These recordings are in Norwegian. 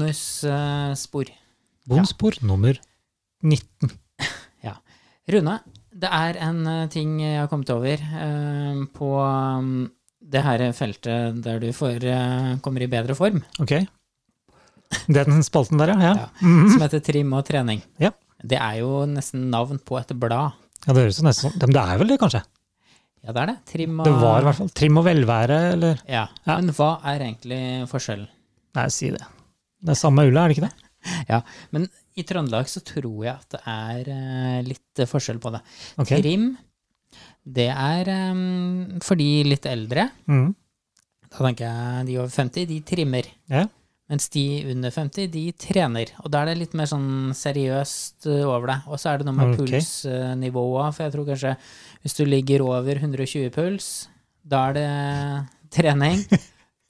Bonusspor. Bonspor nummer 19. Rune, det er en eh, ting jeg har kommet over eh, på mm, det her feltet der du får, eh, kommer i bedre form, Ok. Det er den spalten der, ja. Ja. Ja, Mhm. som heter trim og trening. Ja. Det er jo nesten navn på et blad. ja det høres jo nesten sånn Men det er vel det, kanskje? Ja, det er det. Trim og Det var i hvert fall trim og velvære, eller Ja. Ja. Men hva er egentlig forskjellen? Nei, si det. Det er samme ulla, er det ikke det? Ja, men i Trøndelag så tror jeg at det er eh, litt eh, forskjell på det. Ok. Trim, det er eh, for de litt eldre. Mhm. Da tenker jeg de over 50, de trimmer. Ja. Mens de under 50, de trener. Og da er det litt mer sånn seriøst eh, over det. Og så er det noe med Ok. pulsnivået, for jeg tror kanskje hvis du ligger over 120 puls, da er det trening.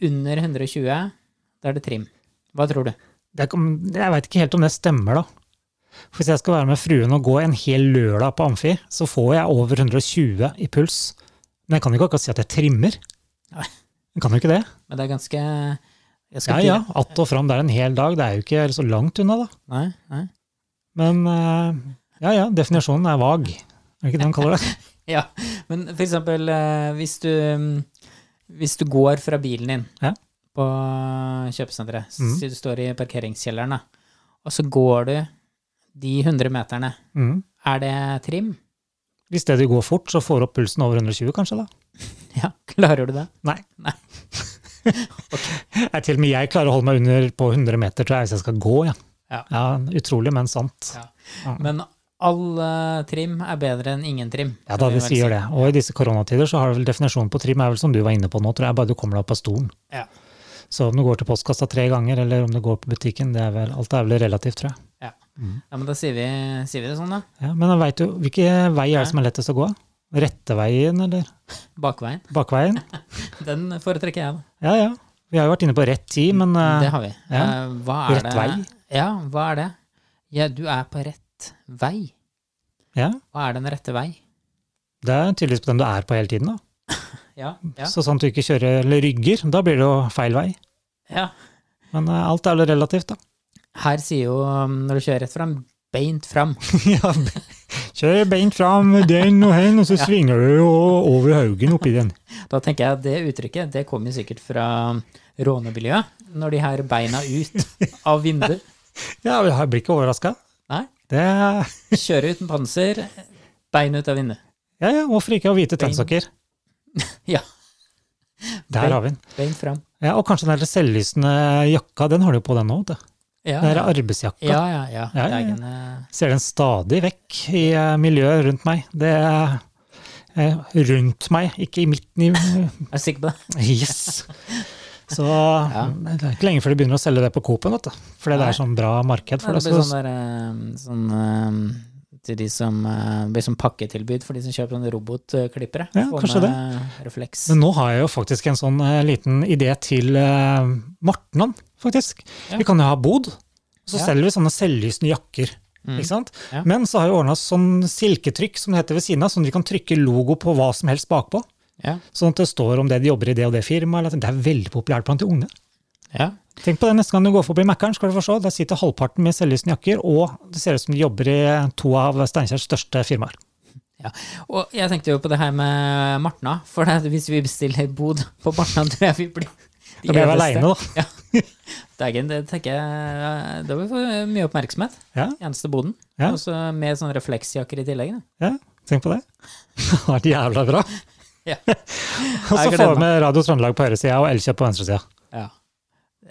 under 120, da er det trim. Hva tror du? Det er, ikke- jeg veit ikke helt om det stemmer, da. For Hvis jeg skal være med fruen og gå en hel lørdag på Amfi, så får jeg over 120 i puls. Men jeg kan jo ikke akkurat si at jeg trimmer. Nei. Jeg kan jo ikke det. Men det er ganske jeg Ja, skal ja. ikke- Att og fram der en hel dag, det er jo ikke så langt unna, da. Nei, nei. Men eh, ja, ja, definisjonen er vag. Er det ikke det han kaller det? Ja, men for eksempel eh, hvis du, mm, hvis du går fra bilen din Ja. på kjøpesenteret, Mhm. si du står i parkeringskjelleren, da, og så går du de 100 meterne, Mm. er det trim? Hvis det du går fort, så får du opp pulsen over 120, kanskje, da? Ja, klarer du det? Nei. Nei. Nei, til og med jeg klarer å holde meg under på 100 meter, tror jeg, hvis jeg skal gå, ja. Ja. utrolig, men sant. Ja. Men all eh, trim er bedre enn ingen trim. Ja, da, kan vi det vel sier si. det. Og i disse koronatider så har vel definisjonen på trim er vel som du var inne på nå, tror jeg, bare du kommer deg opp av stolen. Ja. Så om du går til postkassa tre ganger, eller om du går på butikken, det er vel, alt er vel relativt, tror jeg. Ja. Mhm. ja, men da sier vi, sier vi det sånn, da. Ja, men veit du hvilken vei er det som er lettest å gå? Rette veien, eller Bakveien. bakveien? Den foretrekker jeg, da. Ja, ja. Vi har jo vært inne på rett tid, men eh, Det har vi. ja. Eh, Hva er Rett det? vei. Ja, hva er det? Ja, du er på rett vei. ja, Hva er den rette vei? det er tydeligvis på den du er på hele tiden. da. Ja, ja, Så sånn at du ikke kjører eller rygger, da blir det jo feil vei. ja. Men eh, alt er vel relativt, da. Her sier jo um, når du kjører rett fram, beint fram. ja, be- kjør beint fram den og hen, og så svinger du jo over haugen oppi den. Da tenker jeg at det uttrykket det kommer sikkert fra rånemiljøet, når de har beina ut av vinduet. Ja, jeg blir ikke overraska. Nei, Det kjøre uten panser, bein ut av vinduet. Ja, ja, hvorfor ikke å hvite Bein. tennsokker? Ja, Der har vi den. beint fram. Ja, og kanskje den der selvlysende jakka, den har du jo på den nå, vet du. Ja, Den der ja, arbeidsjakka. ja. ja, Ja, ja, Det ja. er egen, eh, ser den stadig vekk i eh, miljøet rundt meg. Det er eh, rundt meg, ikke i midten i er du sikker på det? Yes! Så det er ikke lenge før de begynner å selge det på Coop-en, vet du. Fordi det Nei. er sånn bra marked for Det det. blir Så, sånn, der, eh, sånn eh, til de som eh, det blir sånn pakketilbud for de som kjøper sånne robotklippere. Ja, Få kanskje med Refleks. men nå har jeg jo faktisk en sånn eh, liten idé til eh, Mortenan, faktisk. Ja. Vi kan jo ha bod, så Ja. Mm. selger vi sånne selvlysende jakker. Ikke sant? Ja. Men så har jeg ordna sånn silketrykk som det heter ved siden av, sånn at vi kan trykke logo på hva som helst bakpå. Ja, Sånn at det står om det de jobber i det og det firmaet. eller at- Det er veldig populært blant de unge. ja. Tenk på det neste gang du går forbi Mækkern, skal du få se. Der sitter halvparten med selvlysende jakker, og det ser ut som de jobber i to av Steinkjers største firmaer. Ja, og jeg tenkte jo på det her med Martna, for det, hvis vi bestiller bod på Martna, tror jeg vi blir de Da blir vi eneste. aleine, da. Dagen, det tenker jeg, da vil vi få mye oppmerksomhet. Ja, Eneste boden. Ja. Og så med sånne refleksjakker i tillegg. Da. ja, tenk på det. Det har vært jævla bra. Ja. Og så Jeg får gleder vi med Radio Trøndelag på høyresida og Elkjøp på venstresida. Ja.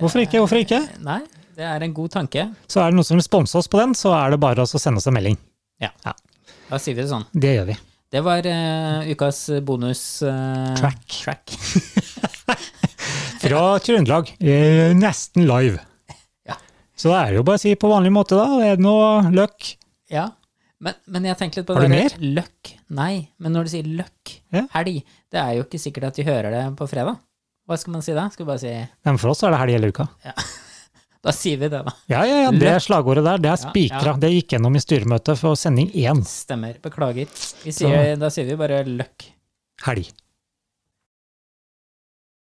Hvorfor ikke? Hvorfor ikke? Nei, det er en god tanke. Så er det noen som vil sponse oss på den, så er det bare å sende oss en melding. Da sier vi det sånn. Det gjør vi. Det var eh, ukas bonus... eh, Track. track. Fra Trøndelag, eh, nesten live. Ja. Så er det jo bare å si på vanlig måte, da. Er det noe løk? Ja. Men, men jeg tenkte litt på Har du det der- Løkk. Nei, men når du sier løkk, Ja. helg, det er jo ikke sikkert at de hører det på fredag. Hva skal man si da? Skal vi bare si Nei, men for oss er det helg hele uka. Da sier vi det, da. Ja, ja, ja, det Løk. slagordet der, det er Ja, spikra. Det gikk gjennom i styremøtet for sending én Stemmer. Beklager. Vi sier, da sier vi bare løkk. helg.